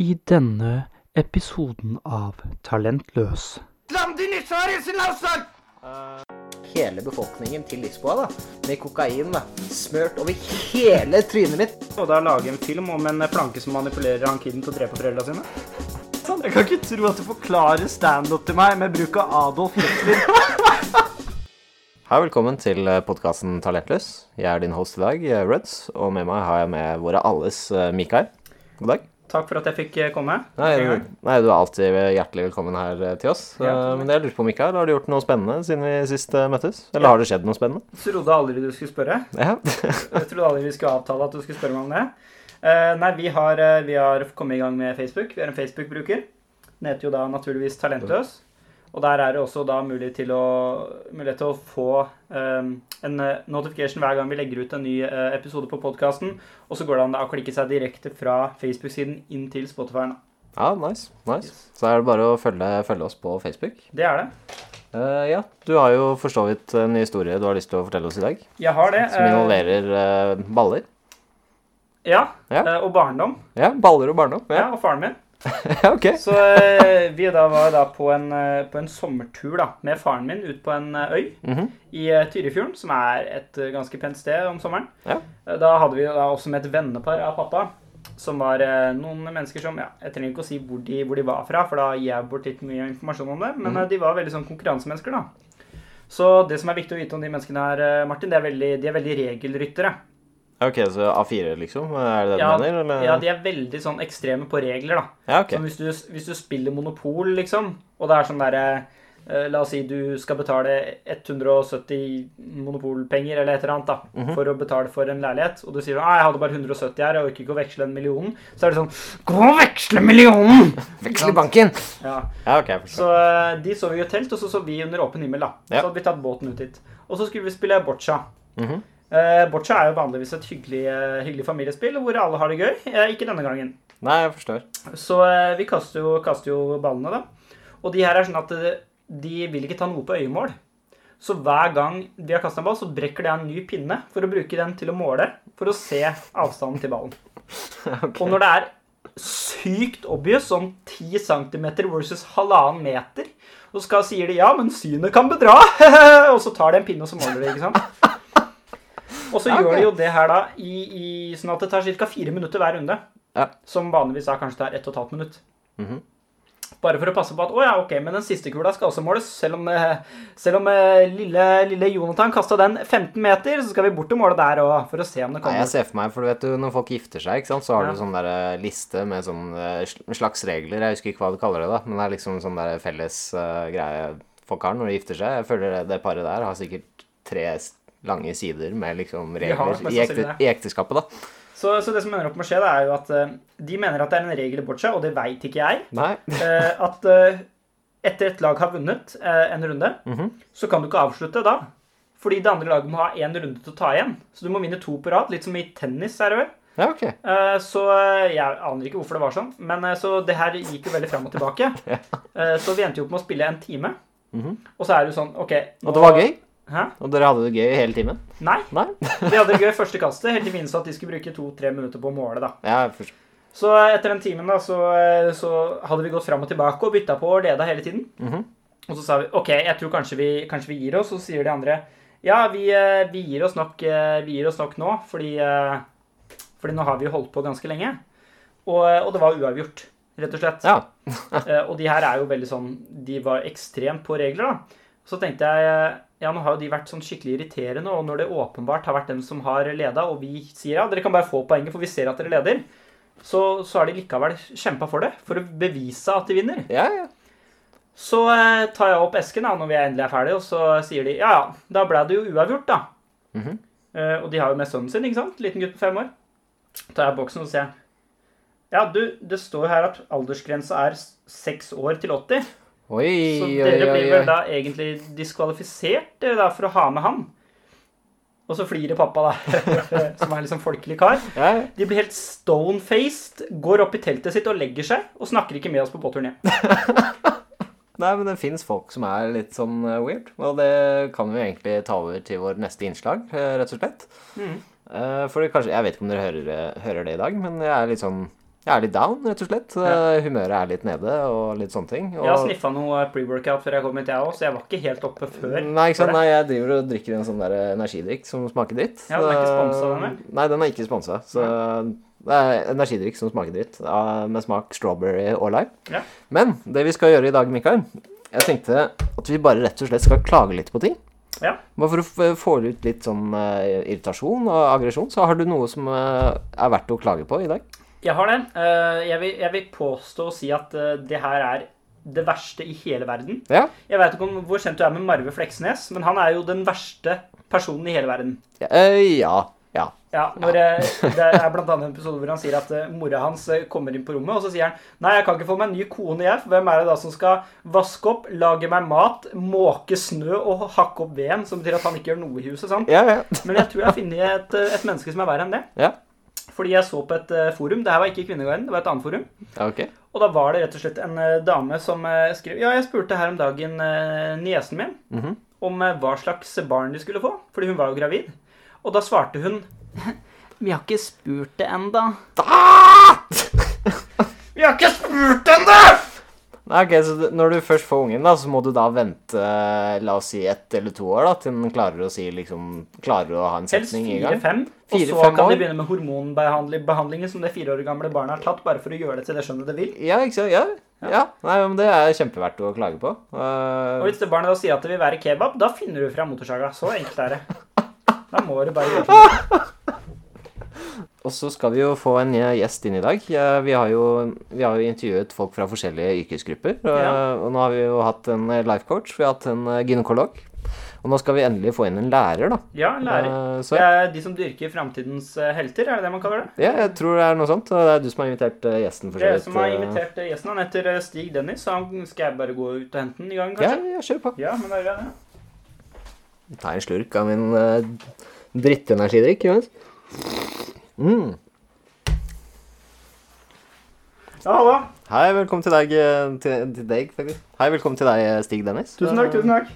i denne episoden av Talentløs. hele befolkningen til Lisboa da, med kokain da, smørt over hele trynet mitt. Og da lage en film om en planke som manipulerer han kiden til å drepe foreldra sine? Sånn, jeg kan ikke tro at du forklarer standup til meg med bruk av Adolf Hitler. Hei, velkommen til podkasten Talentløs. Jeg er din host i dag, Ruds, og med meg har jeg med våre alles eh, Mikael. God dag. Takk for at jeg fikk eh, komme. Nei, nei, du er alltid hjertelig velkommen her eh, til oss. Eh, Men jeg lurer på, Mikael, har du gjort noe spennende siden vi sist eh, møttes? Eller har det skjedd noe spennende? Trodde aldri du skulle spørre. Ja. Jeg trodde aldri vi skulle avtale at du skulle spørre meg om det. Eh, nei, vi har, eh, vi har kommet i gang med Facebook. Vi er en Facebook-bruker. Den heter jo da naturligvis Talentløs. Og der er det også da mulig til å, mulighet til å få eh, en eh, notification hver gang vi legger ut en ny eh, episode på podkasten. Og så går det an da å klikke seg direkte fra Facebook-siden inn til Spotify. ja, nice. nice. Så er det bare å følge, følge oss på Facebook. Det er det. Eh, ja, du har jo for så vidt en historie du har lyst til å fortelle oss i dag, Jeg har det. som eh, involverer eh, baller. ja, Ja. eh, Og barndom. Ja, baller og barndom. Ja, Ja, og faren min. ja ok. Så eh, vi da var da på en, eh, på en sommertur da, med faren min ut på en eh, øy Mhm. i eh, Tyrifjorden, som er et eh, ganske pent sted om sommeren. Ja. Eh, Da hadde vi jo da også med et vennepar av pappa, som var eh, noen mennesker som, ja, jeg trenger ikke å si hvor de, hvor de var fra, for da gir jeg bort litt mye informasjon om det, Mhm. men eh, de var veldig sånn konkurransemennesker da. Så det som er viktig å vite om de menneskene her, eh, Martin, det er veldig, de er veldig regelryttere. Ok, så A4 liksom, er det det Ja, du mener? Eller? ja, de er veldig sånn ekstreme på regler da. Ja, ok. Så Sånn, hvis du, hvis du spiller Monopol, liksom, og det er sånn derre eh, La oss si du skal betale 170 monopolpenger eller et eller annet da, Mhm. for å betale for en leilighet, og du sier at jeg hadde bare 170 her, jeg orker ikke å veksle en million, så er det sånn Gå og veksle millionen! Veksel i banken! Ja. Ja, ok, jeg forstår. Så eh, de sov jo i et telt, og så sov vi under åpen himmel. da. Ja. Så hadde vi tatt båten ut dit. Og så skulle vi spille boccia. Mhm. Eh, boccia er jo vanligvis et hyggelig, eh, hyggelig familiespill hvor alle har det gøy. Eh, ikke denne gangen. Nei, jeg forstår. Så eh, vi kaster jo, kaster jo ballene, da. Og de her er sånn at eh, de vil ikke ta noe på øyemål. Så hver gang de har kasta en ball, så brekker de av en ny pinne for å bruke den til å måle, for å se avstanden til ballen. Og når det er sykt obvious, sånn 10 cm versus halvannen meter, og så skal, sier de 'ja, men synet kan bedra', og så tar de en pinne og så måler de, ikke sant? Og så gjør de jo det her, da, i, i, sånn at det tar ca. fire minutter hver runde som vanligvis da kanskje tar ett og et halvt minutt. Mhm. Bare for å passe på at å ja, ok, men den siste kula skal også måles. Selv om, eh, selv om eh, lille, lille Jonathan kasta den 15 meter, så skal vi bort og måle der òg, for å se om det Nei, kommer. jeg ser for meg, for du vet jo, når folk gifter seg, ikke sant, så har Ja. du sånn der eh, liste med sånn eh, sl- slags regler, jeg husker ikke hva du kaller det da, men det er liksom sånn der felles eh, greie folk har når de gifter seg. Jeg føler det, det paret der har sikkert tre s- lange sider med har liksom nok regler mest i, ekte, sannsynlig i ekteskapet da. så, så det som ender opp med å skje, det er jo at eh, de mener at det er en regel i boccia, og det veit ikke jeg. Nei, eh, at eh, etter et lag har vunnet eh, en runde, så kan du ikke avslutte da. Fordi det andre laget må ha én runde til å ta igjen. Så du må vinne to på rad. Litt som i tennis, er det vel. ja, ok. Eh, Så eh, jeg aner ikke hvorfor det var sånn, men eh, så det her gikk jo veldig fram og tilbake. Eh, Så vi endte jo opp med å spille en time. Og så er det jo sånn OK Og det var gøy, Hæ? og dere hadde det gøy hele timen. Nei. Nei? Vi hadde det gøy første kastet, helt til vi innså at de skulle bruke to-tre minutter på å måle, da. Ja, jeg forstår. Så eh, etter den timen, da, så, eh, så hadde vi gått fram og tilbake og bytta på og leda hele tiden. Mhm. Og så sa vi OK, jeg tror kanskje vi, kanskje vi gir oss. Og så sier de andre ja, vi, eh, vi, gir oss nok, eh, vi gir oss nok nå, fordi, eh, fordi nå har vi jo holdt på ganske lenge. Og, eh, og det var uavgjort, rett og slett. Ja, Eh, Og de her er jo veldig sånn De var ekstremt på regler, da. Så tenkte jeg eh, ja, nå har jo de vært sånn skikkelig irriterende, og når det åpenbart har vært dem som har leda, og vi sier ja, dere kan bare få poenget, for vi ser at dere leder, så, så har de likevel kjempa for det, for å bevise at de vinner. ja, ja. Så eh, tar jeg opp esken da, når vi endelig er ferdige, og så sier de ja, ja, da ble det jo uavgjort, da. Mhm. Eh, og de har jo med sønnen sin, ikke sant? Liten gutt på fem år. Tar jeg boksen og sier ja, du, det står her at aldersgrensa er s- seks år til 80. Oi, Så oi, dere oi, blir vel oi. da egentlig diskvalifisert dere da, for å ha med han. Og så flirer pappa, da, som er liksom folkelig kar. Ja, ja. De blir helt stone-faced, går opp i teltet sitt og legger seg, og snakker ikke med oss på båtturen hjem. Nei, men det fins folk som er litt sånn eh, weird, og det kan vi egentlig ta over til vår neste innslag, eh, rett og slett. Eh, For det kanskje, Jeg vet ikke om dere hører, eh, hører det i dag, men jeg er litt sånn Jeg er litt down, rett og slett. Eh, Humøret er litt nede og litt sånne ting. Og... Jeg har sniffa noe pre-workout før jeg kom hit, jeg òg, så jeg var ikke helt oppe før. Nei, ikke sant? for det. Nei, jeg driver og drikker en sånn der energidrikk som smaker dritt. Ja, den er ikke sponset, den, den? Nei, den er ikke sponsa. Så det er energidrikk som smaker dritt, ja, med smak strawberry og lime. Ja. Men det vi skal gjøre i dag, Mikael, jeg tenkte at vi bare rett og slett skal klage litt på ting. Ja. Bare for å f- få ut litt sånn eh, irritasjon og aggresjon, så har du noe som eh, er verdt å klage på i dag. Jeg har det. Eh, Jeg vil, jeg vil påstå og si at eh, det her er det verste i hele verden. Ja. Jeg veit ikke om hvor kjent du er med Marve Fleksnes, men han er jo den verste personen i hele verden. Eh, ja. Ja. Ja, når eh, Det er blant annet en episode hvor han sier at eh, mora hans eh, kommer inn på rommet, og så sier han Nei, jeg kan ikke få meg en ny kone, jeg. For hvem er det da som skal vaske opp, lage meg mat, måke snø og hakke opp veden? Som betyr at han ikke gjør noe i huset, sant? Ja, ja. Men jeg tror jeg har funnet et, eh, et menneske som er verre enn det. ja. Fordi jeg så på et eh, forum. Det her var ikke Kvinneguiden, det var et annet forum. Ok. Og da var det rett og slett en eh, dame som eh, skrev Ja, jeg spurte her om dagen eh, niesen min Mhm. om eh, hva slags barn de skulle få, fordi hun var jo gravid. Og da svarte hun Vi har ikke spurt det ennå. Ah! Vi har ikke spurt det ennå! Nei, ok, så det- Når du først får ungen, da, så må du da vente eh, la oss si ett eller to år da, til den klarer å si liksom, klarer å ha en Helst setning i gang? fire-fem. Og Fire, så fem kan de år? begynne med hormonbehandlingen som det fire år gamle barnet har tatt, bare for å gjøre det til det skjønnet det vil. Ja, ikke sant? Ja. ja. Nei, men Det er kjempeverdt å klage på. Og Eh, hvis det barnet da sier at det vil være kebab, da finner du fra motorsaga. Så enkelt er det. Da må du bare gjøre det. og så skal vi jo få en eh, gjest inn i dag. Eh, Vi har jo, vi har jo intervjuet folk fra forskjellige yrkesgrupper. eh, Ja. Og nå har vi jo hatt en eh, life coach, vi har hatt en eh, gynekolog. Og nå skal vi endelig få inn en lærer, da. Ja, lærer. Eh, Det Så er de som dyrker framtidens eh, helter, er det det man kaller det? ja, jeg tror det er noe sånt. og Det er du som har invitert eh, gjesten. for så Det vidt, som har eh. invitert eh, gjesten, han heter eh, Stig Dennis, så han skal jeg bare gå ut og hente den i gang, Ja, kanskje? ja, kjør på. Ja, men da gjør jeg det. Ta en slurk av min uh, drittenergidrikk, Jonas. Mm. Ja, hallo. Hei, velkommen til deg, eh, til, til deg faktisk. Hei, velkommen til deg, eh, Stig Dennis. Eh, Tusen takk, tusen takk.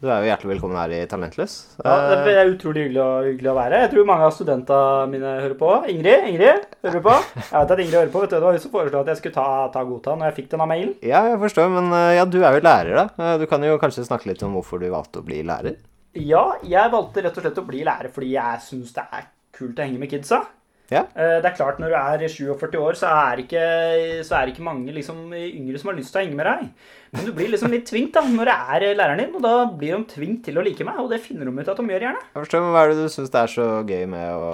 Du er jo hjertelig velkommen her i Talentløs. Ja, det Eh, er utrolig hyggelig å, hyggelig å være. Jeg tror mange av studentene mine hører på. Ingrid, Ingrid, hører du på? Jeg vet at Ingrid hører på, vet du. Det var hun som foreslo at jeg skulle ta, ta Godta når jeg fikk denne mailen. ja, jeg forstår, men eh, ja, du er jo lærer, da. Eh, Du kan jo kanskje snakke litt om hvorfor du valgte å bli lærer? Ja, jeg valgte rett og slett å bli lærer fordi jeg syns det er kult å henge med kidsa. Ja. Eh, Det er klart, når du er 47 år, så er ikke, så er ikke mange liksom, yngre som har lyst til å henge med deg. Men du blir liksom litt tvunget da, når det er eh, læreren din, og da blir de tvunget til å like meg. Og det finner de ut at de gjør gjerne. Jeg forstår, men hva er det du syns det er så gøy med å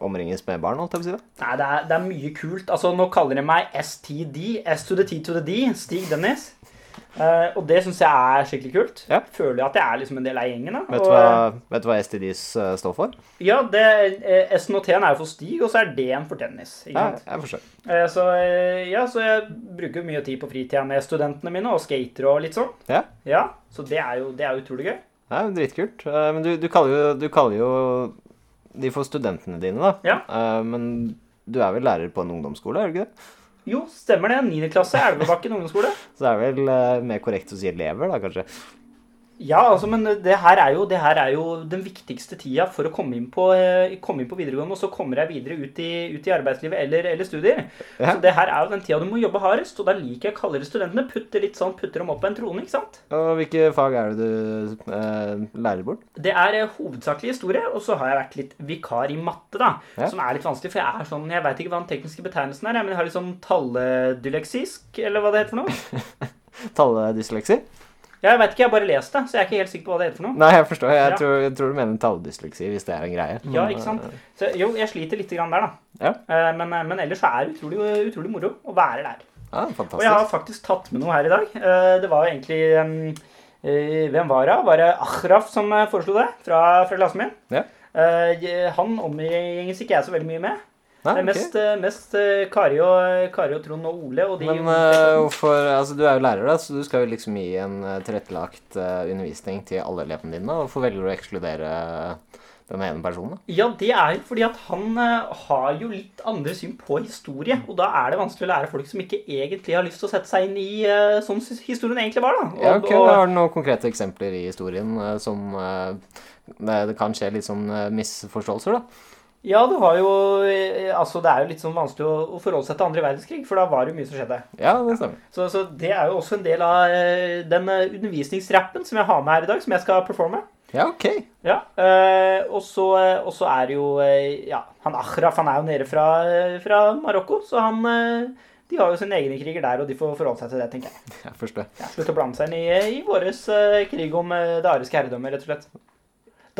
omringes med barn, holdt jeg på å si? da? Nei, det er, det er mye kult. Altså, nå kaller de meg STD. S to the T to the D. Stig Dennis. Eh, og det syns jeg er skikkelig kult. Ja. Føler jo at jeg er liksom en del av gjengen. da. Vet og, du hva, vet du hva STDs eh, står for? Ja, det, eh, S-en og T-en er jo for Stig, og så er D-en for Dennis. Ikke Ja, sant? jeg forstår. Eh, Så, eh, ja, så jeg bruker mye tid på fritida med studentene mine, og skater og litt sånn. Ja. Ja, Så det er jo, det er jo utrolig gøy. Det er jo dritkult. Eh, Men du, du, kaller jo, du kaller jo de for studentene dine, da. Ja. Eh, Men du er vel lærer på en ungdomsskole, er du ikke det? Jo, stemmer det. 9. klasse, Elvebakken ungdomsskole. Så det er vel eh, mer korrekt å si elever, da, kanskje. Ja, altså, men det her er jo, det her er jo den viktigste tida for å komme inn på, eh, komme inn på videregående, og så kommer jeg videre ut i, ut i arbeidslivet eller, eller studier. Ja. Så det her er jo den tida du må jobbe hardest, og da liker jeg å kalle det studentene. Putte litt sånn, putter dem opp på en trone, ikke sant? Og hvilke fag er det du eh, lærer bort? Det er eh, hovedsakelig historie, og så har jeg vært litt vikar i matte, da. Ja. Som er litt vanskelig, for jeg er sånn Jeg veit ikke hva den tekniske betegnelsen er, jeg, men jeg har litt sånn talledyleksisk, eller hva det heter for noe. Talledysleksi? Ja, jeg veit ikke, jeg har bare lest det, så jeg er ikke helt sikker på hva det heter for noe. Nei, jeg forstår. Jeg, Ja. Mm. tror, jeg tror du mener talledysleksi, hvis det er en greie. Ja, ikke sant? Så, jo, jeg sliter lite grann der, da. Mm. Ja. Eh, Men, men ellers så er det utrolig, utrolig moro å være der. Og Ja, jeg Ah, fantastisk. har faktisk tatt med noe her i dag. Eh, Det var jo egentlig eh, eh, Hvem var det? Var det Ahraf som eh, foreslo det? Fra, fra klassen min? Ja. Eh, jeg- Han omgjenges ikke jeg så veldig mye med. Nei, Det er Ah, ok. mest, eh, mest eh, Kari, og, Kari og Trond og Ole og de Men eh, hvorfor Altså, du er jo lærer, da, så du skal jo liksom gi en eh, tilrettelagt eh, undervisning til alle elevene dine. og Hvorfor velger du å ekskludere eh, den ene personen, da? Ja, det er jo fordi at han eh, har jo litt andre syn på historie. Og da er det vanskelig å lære folk som ikke egentlig har lyst til å sette seg inn i eh, sånn s- historien egentlig var, da. Og, Ja, ok, da og, Har du noen konkrete eksempler i historien eh, som eh, det, det kan skje litt sånn eh, misforståelser, da? Ja, det var jo eh, Altså, det er jo litt sånn vanskelig å, å forholde seg til andre verdenskrig, for da var det jo mye som skjedde. Ja, det stemmer. Så, så det er jo også en del av eh, den eh, undervisningsrappen som jeg har med her i dag, som jeg skal performe. Ja, OK. Ja, eh, og så eh, og så er det jo eh, Ja, han Ahraf han er jo nede fra, eh, fra Marokko, så han eh, De har jo sine egne kriger der, og de får forholde seg til det, tenker jeg. Jeg forstår. Ja, Slutt å blande seg inn i, i våres eh, krig om eh, det ariske herredømmet, rett og slett.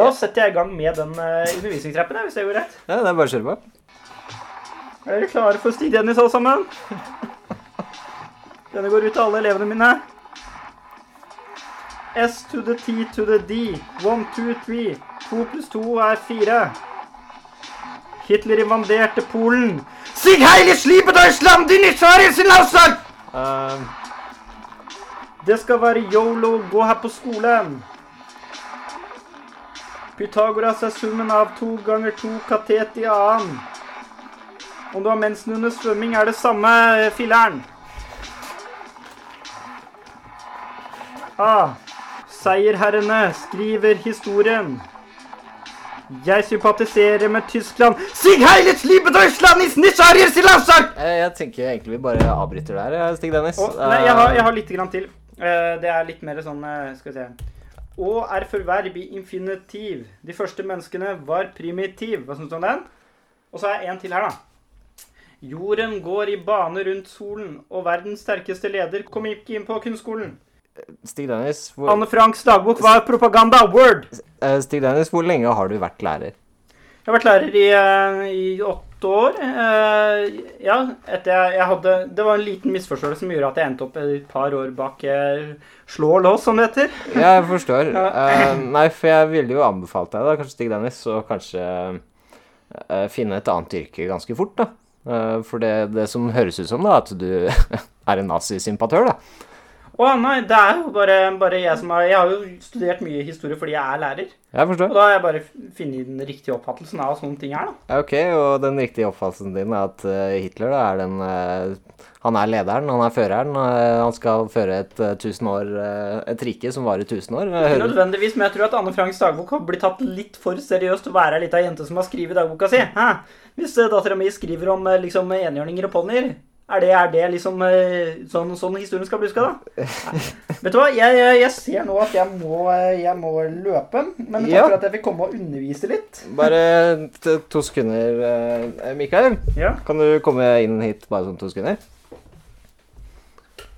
Da setter jeg i gang med den eh, undervisningsrappen, jeg, hvis det går rett. Ja, det er bare å kjøre på. Er dere klare for Stig Dennis, alle sammen? Denne går ut til alle elevene mine. S to the T to the D. One, two, three. To pluss to er fire. Hitler invaderte Polen. Sig heilig slipet av islam, din isharis sin lausar! Ehm, Det skal være yolo, gå her på skolen. Pythagoras er summen av to ganger to katet i annen. Om du har mensen under svømming, er det samme eh, filleren. A. Ah, Seierherrene skriver historien. Jeg sympatiserer med Tyskland. Sig heilig liebe Deutschland is nicht arier silausar! jeg, Eh, jeg tenker egentlig vi bare avbryter der, jeg, Stig Dennis. Å, nei, jeg har, jeg har litt grann til. Eh, Det er litt mer sånn eh, Skal vi se. Å er forverb i infinitiv. De første menneskene var primitiv. Hva syns du om den? Og så er jeg en til her, da. Jorden går i bane rundt solen, og verdens sterkeste leder kom ikke inn på kunstskolen. Eh, Stig, Dennis, hvor, Anne Franks dagbok var propaganda. Word! eh, Stig Dennis, hvor lenge har du vært lærer? Jeg har vært lærer i, eh, i åtte år. Eh, Ja, etter jeg, jeg hadde Det var en liten misforståelse som gjorde at jeg endte opp et par år bak eh, slå og lås, som det heter. Ja, jeg forstår. Ja. Eh, nei, for jeg ville jo anbefalt deg, da, kanskje Stig Dennis, å kanskje eh, finne et annet yrke ganske fort, da. Eh, for det, det som høres ut som, da, at du er en nazisympatør, da. Å nei, det er jo bare, bare jeg som har Jeg har jo studert mye historie fordi jeg er lærer. Jeg forstår. Og da har jeg bare funnet den riktige oppfattelsen av sånne ting her, da. Ja, Ok, og den riktige oppfattelsen din er at eh, Hitler da, er den eh, Han er lederen, han er føreren. eh, han skal føre et, eh, tusen år, eh, et rike som varer 1000 år. Eh, Jeg Ikke hører- nødvendigvis, men jeg tror at Anne Franks dagbok har blitt tatt litt for seriøst å være ei lita jente som har skrevet dagboka si. Hæ? Hvis eh, dattera mi skriver om eh, liksom enhjørninger og ponnier, er det, er det liksom eh, sånn, sånn historien skal bli huska, da? Nei. Vet du hva, jeg, jeg, jeg ser nå at jeg må, eh, jeg må løpe, men takk Ja. for at jeg fikk komme og undervise litt. Bare t to sekunder, eh, Mikael. Ja, Kan du komme inn hit bare sånn to sekunder?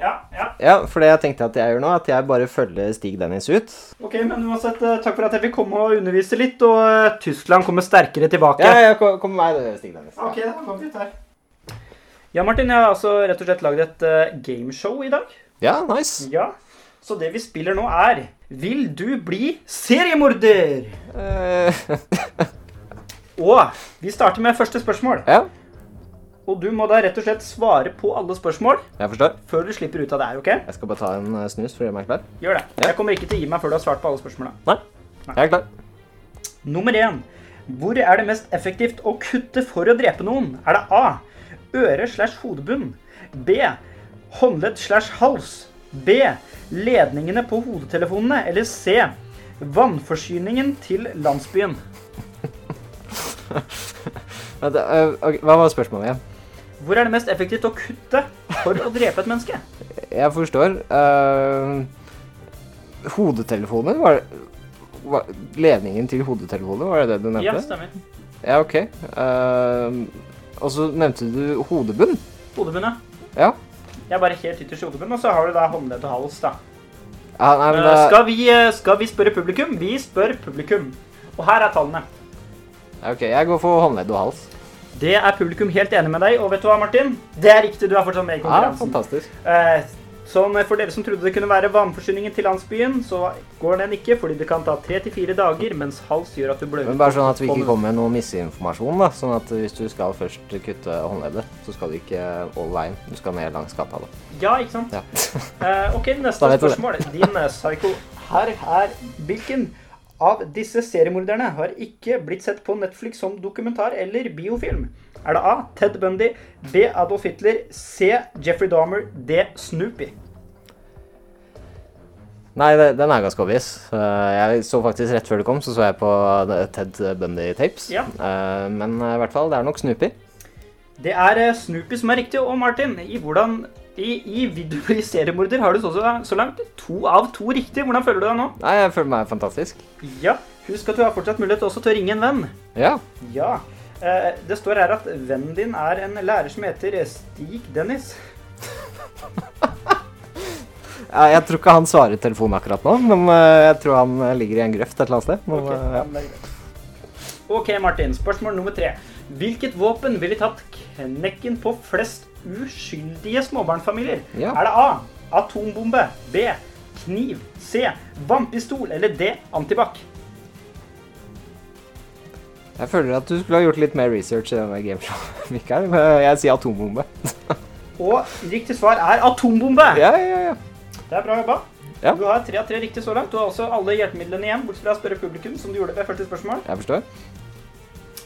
ja, ja. Ja, for det jeg tenkte at jeg gjør nå, at jeg bare følger Stig Dennis ut. Ok, men uansett, eh, takk for at jeg fikk komme og undervise litt, og eh, Tyskland kommer sterkere tilbake. Ja, ja, kom, kom med meg, Stig Dennis. Ok, da kom vi ut her. Ja, Martin, jeg har altså rett og slett lagd et eh, gameshow i dag. Ja, nice. Ja. Så det vi spiller nå er Vil du bli seriemorder? Eh, Og vi starter med første spørsmål. ja, Og du må da rett og slett svare på alle spørsmål jeg forstår. før du slipper ut av det her, OK? Jeg skal bare ta en eh, snus for å gjøre meg klar. Gjør det. Ja. Jeg kommer ikke til å gi meg før du har svart på alle spørsmåla. Nei, jeg er klar. Nummer én. Hvor er det mest effektivt å kutte for å drepe noen? Er det A. Øre slash hodebunn. B. Håndledd slash hals. B. Ledningene på hodetelefonene. Eller C. Vannforsyningen til landsbyen. Vent, eh, ok, hva var spørsmålet igjen? Hvor er det mest effektivt å kutte for å drepe et menneske? Jeg forstår. eh, hodetelefoner? Var, var Ledningen til hodetelefoner, var det det du Ja, nevnte? stemmer. Ja, ok. Eh, og så nevnte du hodebunn. Hodebunn, ja. Ja. Jeg er bare helt ytterst i hodebunn, og så har du da håndledd og hals, da. Ja, nei, men Eh, da, Skal vi, eh, skal vi spørre publikum? Vi spør publikum. Og her er tallene. Ja, ok, jeg går for håndledd og hals. Det er publikum helt enig med deg, og vet du hva, Martin? Det er riktig, du er fortsatt med i Ja, konkurransen. fantastisk. Eh, Sånn, For dere som trodde det kunne være vannforsyningen til landsbyen, så går den ikke, fordi det kan ta tre til fire dager, mens hals gjør at du blør Men ut. bare sånn at vi ikke kommer med noe misinformasjon, da. Sånn at hvis du skal først kutte håndleddet, så skal du ikke all veien. Du skal ned langs gata, da. Ja, ikke sant? Ja. Eh, ok, neste Da vet du det. spørsmål. Din eh, psycho. Her er hvilken av disse seriemorderne har ikke blitt sett på Netflix som dokumentar eller biofilm? Er det A. Ted Bundy, B. Adolf Hitler, C. Jeffrey Dahmer, D. Snoopy? Nei, det- den er ganske obvious. Eh, Jeg så faktisk rett før det kom, så så jeg på eh, Ted Bundy-tapes. Ja. Eh, Men eh, i hvert fall, det er nok Snoopy. Det er eh, Snoopy som er riktig, og Martin, i hvordan i, i videoer i seriemorder har du så, så, så langt to av to riktig. Hvordan føler du deg nå? Nei, jeg føler meg fantastisk. Ja, husk at du har fortsatt mulighet også til å ringe en venn. Ja. Ja. Eh, det står her at vennen din er en lærer som heter Stig Dennis. Ja, Jeg tror ikke han svarer telefonen akkurat nå, men eh, jeg tror han eh, ligger i en grøft et eller annet sted. Men, Ok, eh, ja. men det er greit. OK, Martin. Spørsmål nummer tre. Hvilket våpen ville tatt knekken på flest uskyldige småbarnsfamilier? Ja. Er det A. Atombombe. B. Kniv. C. Vannpistol. Eller D. Antibac. Jeg føler at du skulle ha gjort litt mer research i denne gameshowen, Mikael. men Jeg sier atombombe. Og riktig svar er atombombe. Ja, ja, ja. Det er bra jobba. Ja. Du har tre av tre riktig så langt. Du har også alle hjelpemidlene igjen, bortsett fra å spørre publikum, som du gjorde ved første spørsmål. Jeg forstår.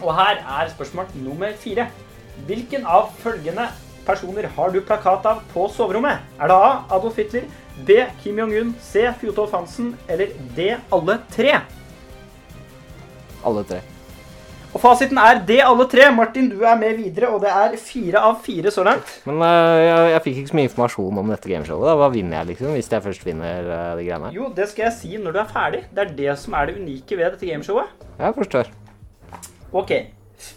Og her er spørsmål nummer fire. Hvilken av følgende personer har du plakat av på soverommet? Er det A. Adolf Hitler, B. Kim Jong-un, C. Fjotolf Hansen eller D. Alle tre? Alle tre. Og fasiten er D. Alle tre. Martin, du er med videre, og det er fire av fire så langt. Men eh, jeg, jeg fikk ikke så mye informasjon om dette gameshowet. da. Hva vinner jeg, liksom, hvis jeg først vinner eh, de greiene her? Jo, det skal jeg si når du er ferdig. Det er det som er det unike ved dette gameshowet. Jeg forstår. Ok,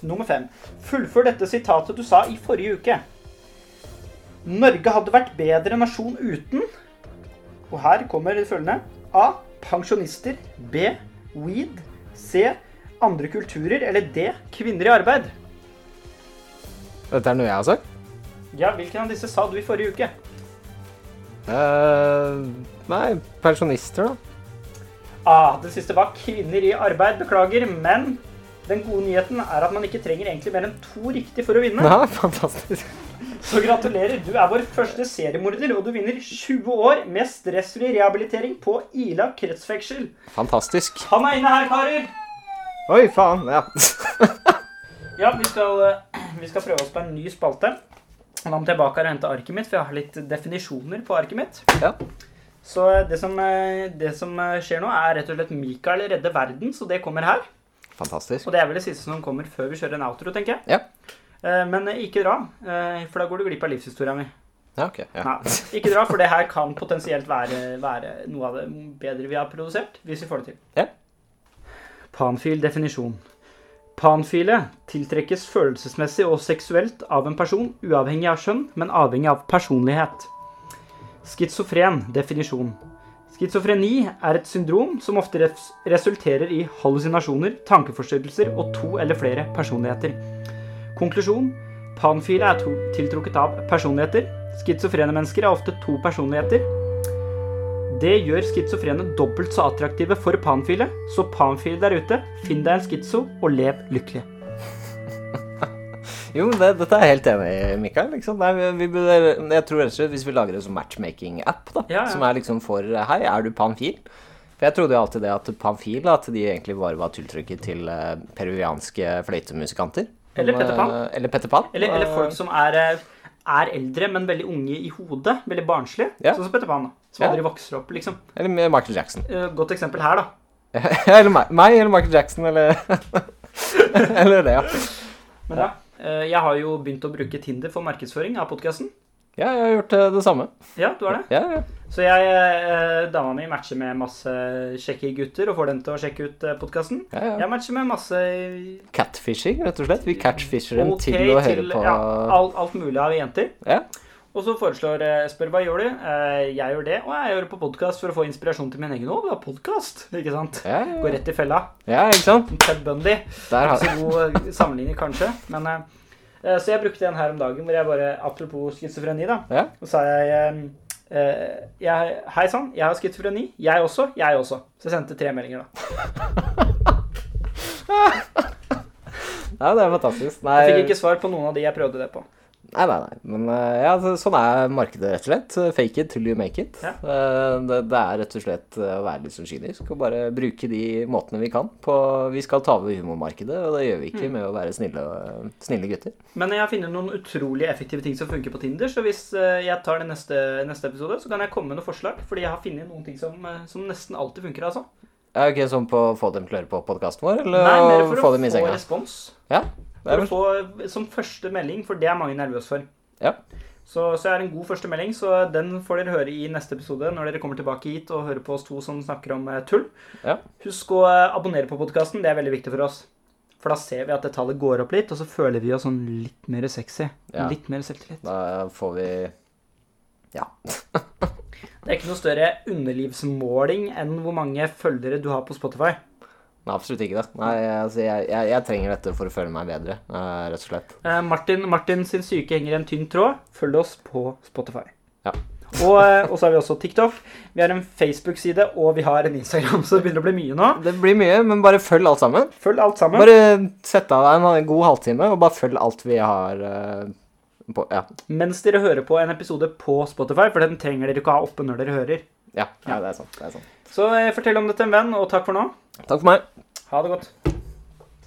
nummer fem. Fullfør dette sitatet du sa i forrige uke. Norge hadde vært bedre nasjon uten Og her kommer det følgende. A. Pensjonister. B. Weed. C. Andre kulturer. Eller D. Kvinner i arbeid. Dette er noe jeg har sagt. Ja, hvilken av disse sa du i forrige uke? Eh, nei, pensjonister, da. Ah, det siste var kvinner i arbeid. Beklager, men den gode nyheten er at man ikke trenger egentlig mer enn to riktig for å vinne. Ja, fantastisk. Så gratulerer. Du er vår første seriemorder, og du vinner 20 år med stressfri rehabilitering på Ila kretsfengsel. Fantastisk. Han er inne her, karer! Oi, faen. Ja. Ja, vi skal, eh, vi skal prøve oss på en ny spalte. Og da må jeg tilbake og hente arket mitt, for jeg har litt definisjoner på arket mitt. ja. Så eh, det som, eh, det som eh, skjer nå, er rett og slett Mikael redder verden, så det kommer her. Fantastisk. Og det er vel det siste som kommer før vi kjører en outro, tenker jeg. Ja. Eh, Men eh, ikke dra, eh, for da går du glipp av livshistorien min. Ja, ok. Ja. Nei, ikke dra, for det her kan potensielt være, være noe av det bedre vi har produsert, hvis vi får det til. Ja. Panfil definisjon. Panfile tiltrekkes følelsesmessig og seksuelt av en person, uavhengig av kjønn, men avhengig av personlighet. Schizofren definisjon. Schizofreni er et syndrom som ofte res resulterer i hallusinasjoner, tankeforstyrrelser og to eller flere personligheter. Konklusjon. Panfile er to- tiltrukket av personligheter. Schizofrene mennesker er ofte to personligheter. Det gjør schizofrene dobbelt så attraktive for panfile, så panfile der ute, finn deg en schizo og lev lykkelig. Jo, men det, dette er jeg helt enig i, Mikael. Liksom. Nei, vi, vi burde, jeg tror rett og slett hvis vi lager en sånn matchmaking-app, da, Ja, ja. som er liksom for eh, Hei, er du panfil? For jeg trodde jo alltid det at panfil, da, at de egentlig bare var tiltrykket til eh, peruvianske fløytemusikanter. Eller Men, Peter Pan. eh, Eller Petter Pan. Eller, eller Eh, folk som er, eh, er eldre, men veldig unge i hodet. Veldig barnslige. Ja. Sånn som Petter Pan, da. Som Ja. aldri vokser opp, liksom. Eller Michael Jackson. Eh, Godt eksempel her, da. eller meg, meg eller Michael Jackson, eller Eller det, ja. Men ja. eh, Jeg har jo begynt å bruke Tinder for markedsføring av podkasten. Ja, jeg har gjort eh, det samme. Ja, du har det? Ja, ja. Så jeg, eh, dama mi matcher med masse kjekke gutter og får dem til å sjekke ut podkasten. Ja, ja. Jeg matcher med masse Catfishing, rett og slett. Vi catfisher dem ok til å høre til på ja, alt, alt mulig av jenter. Ja. Og så foreslår eh, spør hva gjør du? Eh, Jeg gjør det, og jeg gjør det på podkast for å få inspirasjon til min egen òg. Podkast, ikke sant? Ja, ja. Går rett i fella. ja, ikke sant? Ted Bundy. Der har Ikke så god eh, sammenligning, kanskje. Men, eh, eh, så jeg brukte en her om dagen hvor jeg bare Apropos schizofreni, da. Ja. Så sa jeg, eh, eh, jeg Hei sann, jeg har schizofreni. Jeg også. Jeg også. Så jeg sendte tre meldinger, da. Ja, det er fantastisk. Nei, Eh. Jeg fikk ikke svar på noen av de jeg prøvde det på. Nei, nei, nei. Men eh, ja, så- sånn er markedet, rett og slett. Fake it till you make it. Ja. Eh, Det, det er rett og slett eh, å være litt sånn kynisk og bare bruke de måtene vi kan på Vi skal ta over humormarkedet, og det gjør vi Mm. ikke med å være snille, snille gutter. Men jeg har funnet noen utrolig effektive ting som funker på Tinder. Så hvis eh, jeg tar det neste, neste episode, så kan jeg komme med noen forslag. Fordi jeg har funnet noen ting som, eh, som nesten alltid funker. altså. Ja, ok, Sånn på å få dem til å høre på podkasten vår, eller Nei, mer å for få å dem i få senga? respons. Ja, det For er å vel. få eh, som første melding, for det er mange nervøse for. Ja. Så, så jeg har en god første melding, så den får dere høre i neste episode når dere kommer tilbake hit og hører på oss to som snakker om eh, tull. Ja. Husk å eh, abonnere på podkasten, det er veldig viktig for oss. For da ser vi at det tallet går opp litt, og så føler vi oss sånn litt mer sexy. Ja. Litt mer selvtillit. Da får vi Ja. Det er ikke noe større underlivsmåling enn hvor mange følgere du har på Spotify. Nei, absolutt ikke det. Nei, altså, jeg, jeg, jeg trenger dette for å føle meg bedre, eh, rett og slett. Eh, Martin, Martin sin syke henger i en tynn tråd. Følg oss på Spotify. Ja. Og, eh, og så har vi også TikTok. Vi har en Facebook-side, og vi har en Instagram, så det begynner å bli mye nå. Det blir mye, men bare følg alt sammen. Følg alt sammen. Bare sett av deg en god halvtime, og bare følg alt vi har eh, på Ja. Mens dere hører på en episode på Spotify, for den trenger dere ikke ha oppe når dere hører. Ja, ja det, er sant, det er sant. Så eh, fortell om det til en venn, og takk for nå. Takk for meg. Ha det godt.